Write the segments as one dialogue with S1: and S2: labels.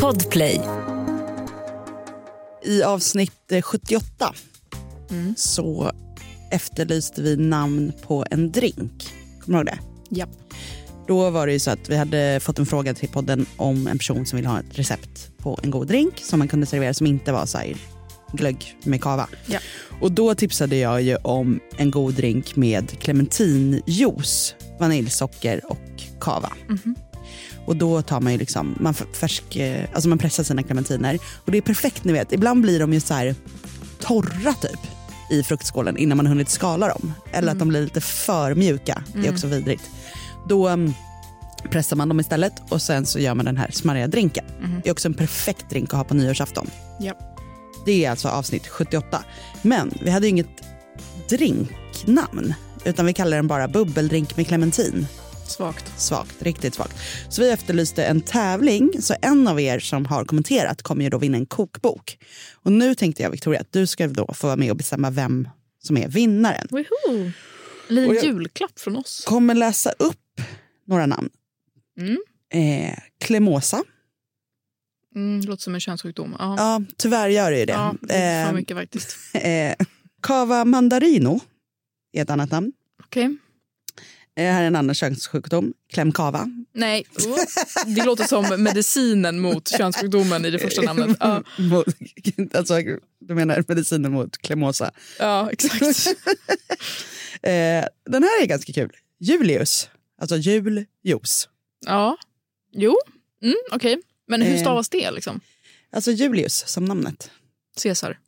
S1: Podplay.
S2: I avsnitt eh, 78 så efterlyste vi namn på en drink. Kommer du ihåg det?
S3: Japp.
S2: Då var det ju så att vi hade fått en fråga till podden om en person som vill ha ett recept på en god drink som man kunde servera som inte var så här glögg med kava.
S3: Ja.
S2: Och då tipsade jag ju om en god drink med clementinjuice, vaniljsocker och kava. Och då tar man ju liksom, man, f- färsk, eh, alltså man pressar sina clementiner. Och det är perfekt ni vet, ibland blir de ju så här torra typ i fruktskålen innan man hunnit skala dem. Eller att de blir lite för mjuka, det är också vidrigt. Då mm, pressar man dem istället och sen så gör man den här smarriga drinken. Det är också en perfekt drink att ha på nyårsafton.
S3: Japp.
S2: Det är alltså avsnitt 78. Men vi hade ju inget drinknamn utan vi kallar den bara bubbeldrink med clementin.
S3: Svagt.
S2: Svagt, riktigt svagt. Så vi efterlyste en tävling, så en av er som har kommenterat kommer ju då vinna en kokbok. Och nu tänkte jag Victoria att du ska då få vara med och bestämma vem som är vinnaren.
S3: Woohoo. En liten
S2: Och jag-
S3: julklapp från oss.
S2: Kommer läsa upp några namn.
S3: Mm.
S2: Eh, Klemosa.
S3: Mm, det låter som en könssjukdom. Ja,
S2: Ja, tyvärr gör det ju det.
S3: ja, det är för mycket faktiskt.
S2: eh, eh, Cava mandarino är ett annat namn.
S3: Okej.
S2: Eh, här är en annan könssjukdom. Klemkava.
S3: Nej, oh. det låter som medicinen mot könssjukdomen i det första namnet. Ja,
S2: Mot- alltså, du menar medicinen mot klemosa.
S3: ja exakt.
S2: Eh, den här är ganska kul. Julius. Alltså juljuice.
S3: Ja. Jo, mm, okej. Men hur
S2: Eh.
S3: stavas det? liksom?
S2: Alltså Julius som namnet.
S3: Caesar?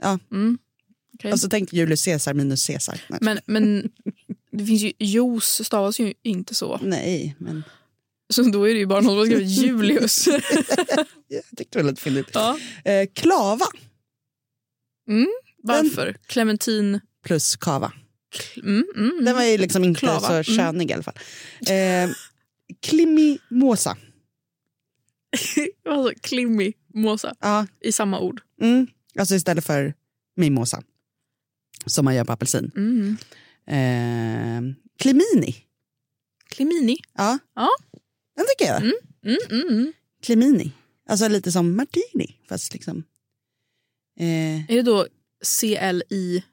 S2: Ja.
S3: Mm. Okej.
S2: Alltså tänk Julius Caesar minus Caesar. Nej,
S3: men, men det finns ju, juice stavas ju inte så.
S2: Nej men
S3: Så då är det ju bara någon som har skrivit Julius.
S2: jag tyckte det var lite fyndigt.
S3: ja.
S2: Eh, klava
S3: Varför? Clementin?
S2: plus kava.
S3: Mm, mm, mm.
S2: Den var ju liksom inte
S3: Klava.
S2: så
S3: Mm.
S2: könig i alla fall. Eh, klimimosa.
S3: Alltså, klimmi, måsa,
S2: Ja,
S3: i samma ord.
S2: mm. Alltså istället för mimosa. Som man gör på apelsin.
S3: Mm.
S2: Eh, klimini.
S3: Klimini.
S2: Ja.
S3: Ja.
S2: Den tycker jag.
S3: Mm, mm, mm.
S2: Clemini. Alltså lite som martini, fast liksom... Eh,
S3: Är det då CLI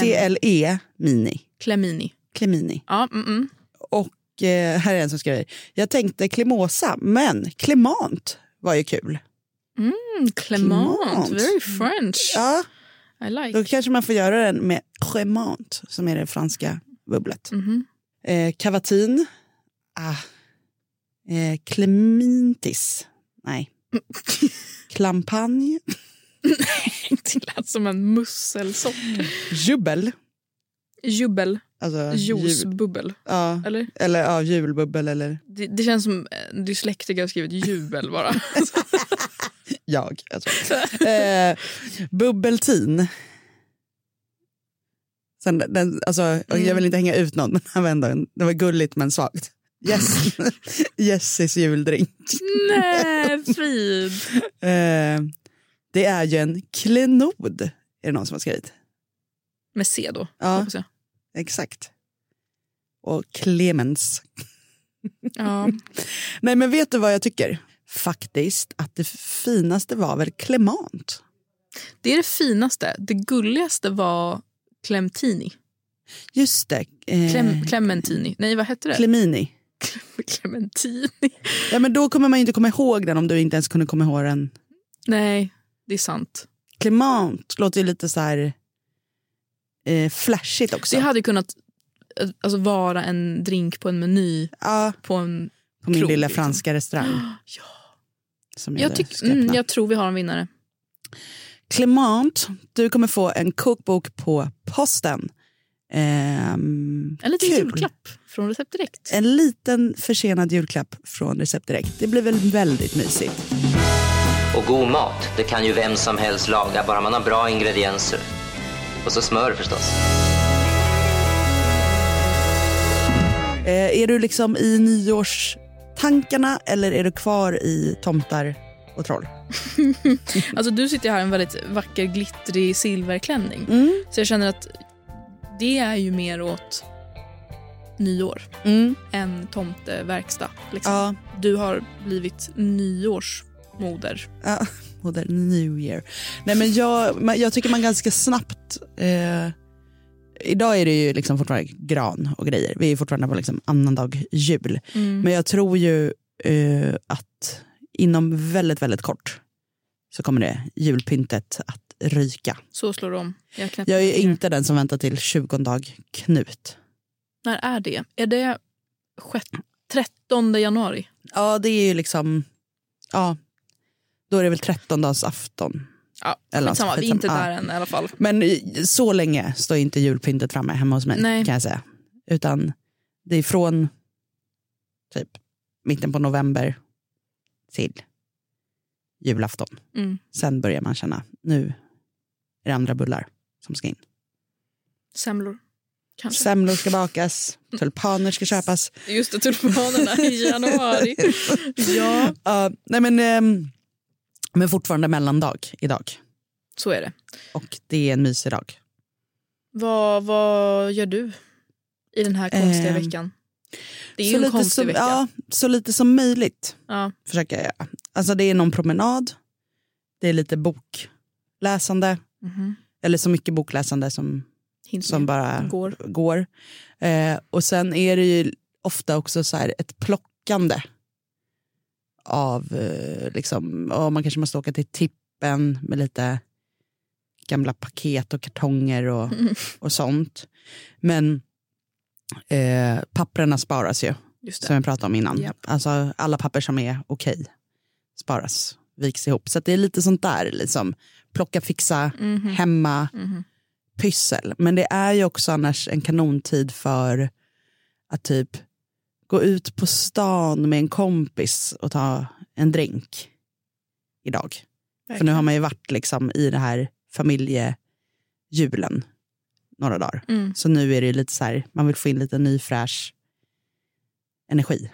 S2: CLE E Mini.
S3: Clemini?
S2: Clemini.
S3: Ja, mm, mm.
S2: Och eh, här är en som skriver. Jag tänkte klemosa, men klemant var ju kul.
S3: Mm, Clement,
S2: Clement.
S3: very French.
S2: Ja,
S3: I like.
S2: då kanske man får göra den med cremant, som är det franska bubblet.
S3: Mhm.
S2: Eh, cavatin. Ah. Eh, clementis. Nej. Klampagne.
S3: Det lät som en musselsort.
S2: Jubbel.
S3: Jubbel,
S2: Alltså, jul-
S3: juicebubbel.
S2: ja,
S3: Eller?
S2: eller ja, julbubbel eller
S3: Det, det känns som en dyslektiker har skrivit jubel bara.
S2: jag. Alltså. eh, bubbeltin. Sen den, alltså, och Jag vill inte hänga ut någon, men den var ändå, det var gulligt men svagt. Yes. Jessis juldrink.
S3: Nej, Frid!
S2: Eh, det är ju en klenod, är det någon som har skrivit.
S3: Med C då,
S2: Ja.
S3: hoppas jag.
S2: Exakt. Och Clemens.
S3: Ja.
S2: Nej men vet du vad jag tycker? Faktiskt att det finaste var väl Clement.
S3: Det är det finaste. Det gulligaste var Clemtini.
S2: Just det. Eh,
S3: Clem, Clementini. Nej, vad hette det?
S2: Clemini.
S3: Clementini.
S2: Ja, men då kommer man ju inte komma ihåg den om du inte ens kunde komma ihåg den.
S3: Nej, det är sant.
S2: Clement låter ju lite så här eh, flashigt också.
S3: Det hade kunnat eh, alltså, vara en drink på en meny
S2: ja,
S3: på en...
S2: på min
S3: krog,
S2: lilla
S3: liksom.
S2: franska restaurang.
S3: Ja.
S2: Som jag,
S3: Jag,
S2: jag
S3: tyck,
S2: ska öppna.
S3: mm, jag tror vi har en vinnare.
S2: Clement, du kommer få en kokbok på posten. Ehm,
S3: En liten
S2: kul. Eh.
S3: julklapp från Recept Direkt.
S2: En liten försenad julklapp från Recept Direkt. Det blir väl väldigt mysigt.
S4: Och god mat, det kan ju vem som helst laga, bara man har bra ingredienser. Och så smör förstås.
S2: Eh, är du liksom i nyårstankarna eller är du kvar i tomtar och troll?
S3: Alltså, du sitter här i en väldigt vacker, glittrig silverklänning.
S2: Mm.
S3: Så jag känner att det är ju mer åt nyår
S2: Mm.
S3: än tomteverkstad. Liksom.
S2: Ja,
S3: du har blivit nyårsmoder.
S2: Ja, moder new year. Nej, men jag, men jag tycker man ganska snabbt... Eh, idag är det ju liksom fortfarande gran och grejer. Vi är fortfarande på liksom annandag jul.
S3: Mm.
S2: Men jag tror ju eh, att inom väldigt, väldigt kort så kommer det julpyntet att ryka.
S3: Så slår de om. Jag knäpper
S2: Jag är
S3: fingrarna.
S2: inte den som väntar till 20 dag Knut.
S3: När är det? Är det sjätt- 13 januari?
S2: Ja, det är ju liksom... Ja, då är det väl 13-dagsafton.
S3: Ja,
S2: Eller alltså, något,
S3: Skitsamma, vi är
S2: skitsam-
S3: inte
S2: ja.
S3: där än i alla fall.
S2: Men i- så länge står inte julpyntet framme hemma hos mig
S3: Nej.
S2: kan jag säga. Utan det är från typ mitten på november till julafton.
S3: Mm.
S2: Sen börjar man känna, nu är det andra bullar som ska in.
S3: Semlor. Kanske.
S2: Semlor ska bakas, tulpaner ska köpas.
S3: Just det, tulpanerna i januari. ja,
S2: Ja, nej men, ehm, men fortfarande mellandag idag.
S3: så är det.
S2: Och det är en mysig dag.
S3: Vad, vad gör du i den här konstiga
S2: Ehm,
S3: veckan? Det är
S2: så
S3: ju en
S2: lite
S3: konstig
S2: som,
S3: vecka.
S2: Ja, så lite som möjligt.
S3: Ja.
S2: försöker jag göra. Alltså det är någon promenad, det är lite bokläsande,
S3: Mhm.
S2: eller så mycket bokläsande som,
S3: Hint
S2: som
S3: med.
S2: bara
S3: Går.
S2: går. Eh, och sen är det ju ofta också så här ett plockande av, eh, liksom, ja, man kanske måste åka till tippen med lite gamla paket och kartonger och,
S3: Mm.
S2: och sånt. Men eh, papperna sparas ju
S3: Just
S2: som
S3: det.
S2: jag pratade om innan.
S3: Japp.
S2: Alltså alla papper som är okej sparas, viks ihop. Så att det är lite sånt där, liksom plocka, fixa,
S3: Mhm.
S2: hemma,
S3: Mhm.
S2: pyssel. Men det är ju också annars en kanontid för att typ gå ut på stan med en kompis och ta en drink idag. För nu har man ju varit liksom i det här familjejulen några dagar.
S3: Mm.
S2: Så nu är det ju lite så här, man vill få in lite ny fräsch energi.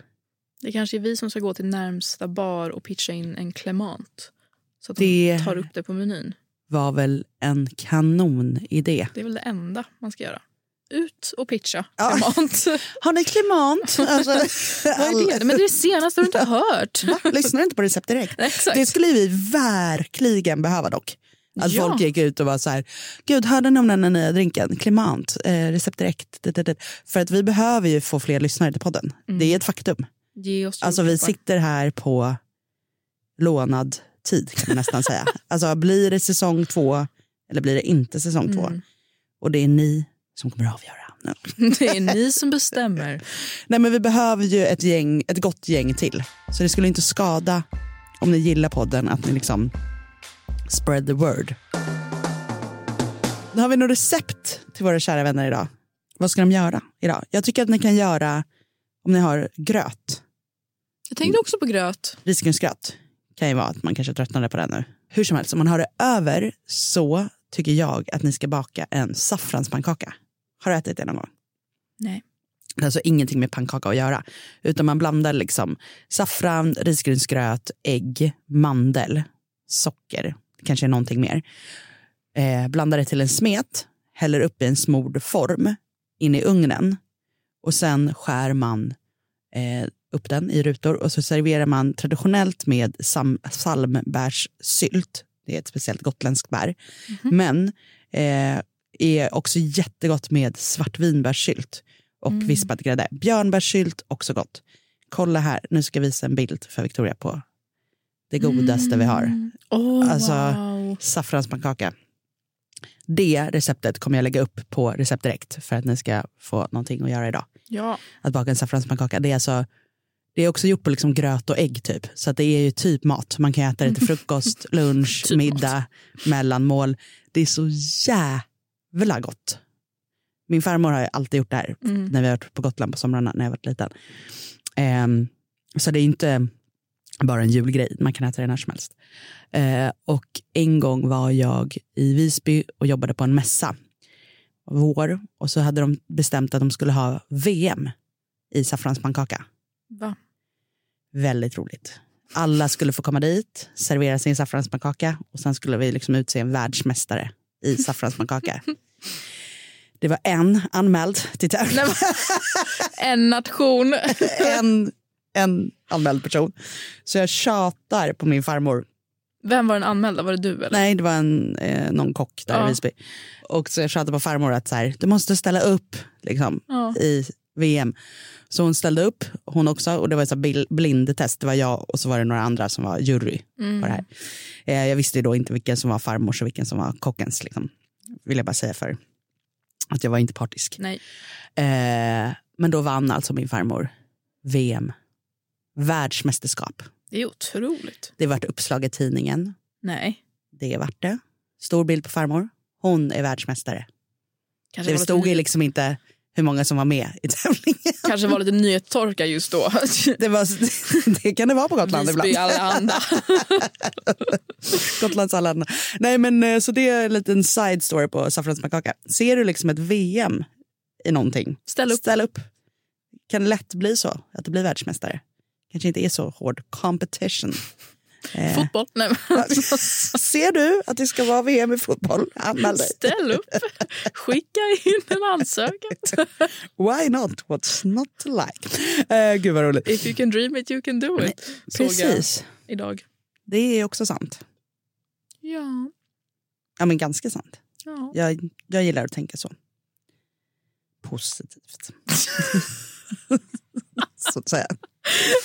S3: Det kanske är vi som ska gå till närmsta bar och pitcha in en klemant. Så att de
S2: Det-
S3: tar upp det på menyn.
S2: var väl en kanonidé.
S3: Det är väl det enda man ska göra. Ut och pitcha
S2: Ja.
S3: klemant.
S2: Har ni klimant? Alltså,
S3: Vad är det? Men det är det senaste har du inte hört.
S2: Va? Lyssnar inte på recept direkt?
S3: Nej, Exakt.
S2: Det skulle vi verkligen behöva dock. Att
S3: Ja.
S2: folk gick ut och var så här, gud hörde ni om den här nya drinken? Klimant, eh, recept direkt. Det, det, det. För att vi behöver ju få fler lyssnare till podden.
S3: Mm.
S2: Det är ett faktum.
S3: Ge oss
S2: Alltså vi
S3: julklappar.
S2: sitter här på lånad tid kan man nästan säga. Alltså blir det säsong två eller blir det inte säsong två?
S3: Mm.
S2: Och det är ni som kommer att avgöra. Nu.
S3: Det är ni som bestämmer.
S2: Nej men vi behöver ju ett, gäng, ett gott gäng till. Så det skulle inte skada om ni gillar podden att ni liksom spread the word. Nu har vi några recept till våra kära vänner idag. Vad ska de göra idag? Jag tycker att ni kan göra, om ni har gröt,
S3: Jag tänkte också på gröt.
S2: risgrynsgröt, kan ju vara att man kanske tröttnade på den nu. Hur som helst, om man har det över så tycker jag att ni ska baka en saffranspannkaka. Har du ätit det någon gång?
S3: Nej.
S2: Det har alltså ingenting med pannkaka att göra. Utan man blandar liksom saffran, risgrynsgröt, ägg, mandel, socker, kanske någonting mer. Eh, blandar det till en smet, häller upp i en smord form in i ugnen och sen skär man eh, upp den i rutor och så serverar man traditionellt med sam- salmbärssylt. Det är ett speciellt gotländskt bär. Men eh, är också jättegott med svartvinbärssylt och
S3: Mm.
S2: vispad grädde. Björnbärssylt, också gott. Kolla här, nu ska jag visa en bild för Victoria på det godaste vi har.
S3: Mm. Åh,
S2: Alltså-
S3: wow.
S2: Saffranspannkaka. Det receptet kommer jag lägga upp på recept direkt för att ni ska få någonting att göra idag.
S3: Ja.
S2: Att baka en saffranspannkaka. Det är, alltså, det är också gjort på liksom gröt och ägg typ. Så att det är ju typ mat. Man kan äta det till frukost, lunch,
S3: Typ mat.
S2: middag, mellanmål. Det är så jävla gott. Min farmor har ju alltid gjort det här
S3: Mm.
S2: när vi har varit på Gotland på somrarna när jag varit liten. Ehm, så det är inte bara en julgrej, man kan äta det när som helst. Eh, och en gång var jag i Visby och jobbade på en mässa vår och så hade de bestämt att de skulle ha VM i saffranspannkaka.
S3: Va?
S2: Väldigt roligt. Alla skulle få komma dit, servera sin saffranspannkaka och sen skulle vi liksom utse en världsmästare i saffranspannkaka. Det var en anmäld till tävling.
S3: En nation.
S2: en en anmäld person. Så jag tjatar på min farmor.
S3: Vem var den anmälda? Var det du? Eller?
S2: Nej, det var en, eh, någon kock där
S3: Ja.
S2: i Visby. Och så jag tjatade på farmor att så här, du måste ställa upp liksom,
S3: Ja.
S2: i VM. Så hon ställde upp, hon också. Och det var ett så här bil- blindtest. Det var jag och så var det några andra som var jury på det här. Eh, jag visste ju då inte vilken som var farmors och vilken som var kockens. Liksom. Vill jag bara säga för att jag var inte partisk.
S3: Nej.
S2: Eh, men då vann alltså min farmor VM. Världsmästerskap.
S3: Det är otroligt.
S2: Det vart uppslag i tidningen.
S3: Nej.
S2: Det vart det. Stor bild på farmor. Hon är världsmästare.
S3: Kanske
S2: Det
S3: var
S2: stod
S3: lite,
S2: ju liksom inte hur många som var med i tävlingen.
S3: kanske var lite nyhetstorka just då.
S2: Det, var, det kan det vara på Gotland
S3: Visby
S2: ibland.
S3: allehanda.
S2: Gotlands alla andra. Nej men eh, så det är en liten side story på saffransmackaka. Ser du liksom ett VM i någonting?
S3: Ställ upp.
S2: Ställ upp. Kan lätt bli så att du blir världsmästare. Kanske inte är så hård competition. Eh,
S3: Fotboll. Nej, men,
S2: ser du att det ska vara VM i fotboll? Anmäl dig.
S3: ställ upp. Skicka in en ansökan.
S2: Why not? What's not to like? Eh, gud vad roligt.
S3: If you can dream it, you can do it. Såg jag
S2: Precis.
S3: idag.
S2: Det är också sant.
S3: Ja.
S2: Ja men ganska sant.
S3: ja.
S2: Jag, jag gillar att tänka så. Positivt. så att säga.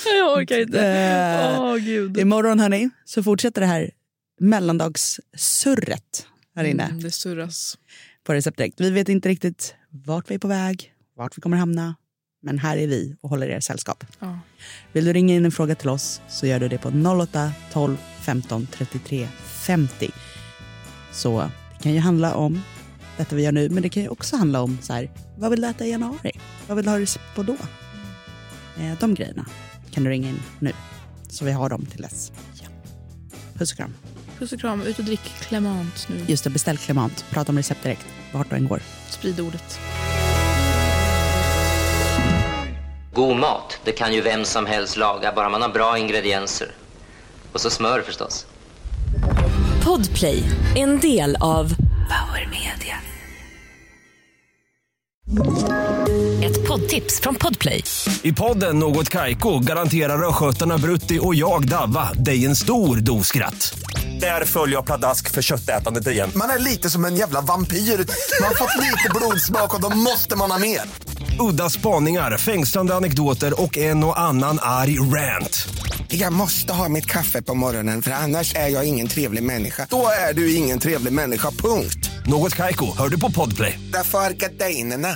S3: Jag orkar inte.
S2: Eh,
S3: Åh, gud.
S2: Imorgon hörni, så fortsätter det här mellandagssurret här inne
S3: Mm, det surras.
S2: på Recept Direkt. Vi vet inte riktigt vart vi är på väg, vart vi kommer hamna. Men här är vi och håller er sällskap.
S3: Ja.
S2: Vill du ringa in en fråga till oss så gör du det på 08 12 15 33 50. Så det kan ju handla om detta vi gör nu, men det kan ju också handla om så här, vad vill du äta i januari? Vad vill du ha recept på då? Eh, de grejerna kan du ringa in nu, så vi har dem till dess. Puss och kram.
S3: Puss och kram. Ut och drick Clement nu.
S2: Just det, beställ Clement. Prata om recept direkt, vart du än går.
S3: Sprid ordet.
S4: God mat, det kan ju vem som helst laga, bara man har bra ingredienser. Och så smör förstås.
S1: Podplay, en del av Power Media. Ett poddtips från Podplay.
S5: I podden Något Kaiko garanterar östgötarna Brutti och jag, Davva, dig en stor dos skratt. Där följer jag pladask för köttätandet igen.
S6: Man är lite som en jävla vampyr. Man har fått lite blodsmak och då måste man ha mer.
S5: Udda spaningar, fängslande anekdoter och en och annan arg rant.
S6: Jag måste ha mitt kaffe på morgonen för annars är jag ingen trevlig människa. Då är du ingen trevlig människa, punkt.
S5: Något Kaiko, hör du på Podplay.
S6: Därför arkadeinerna.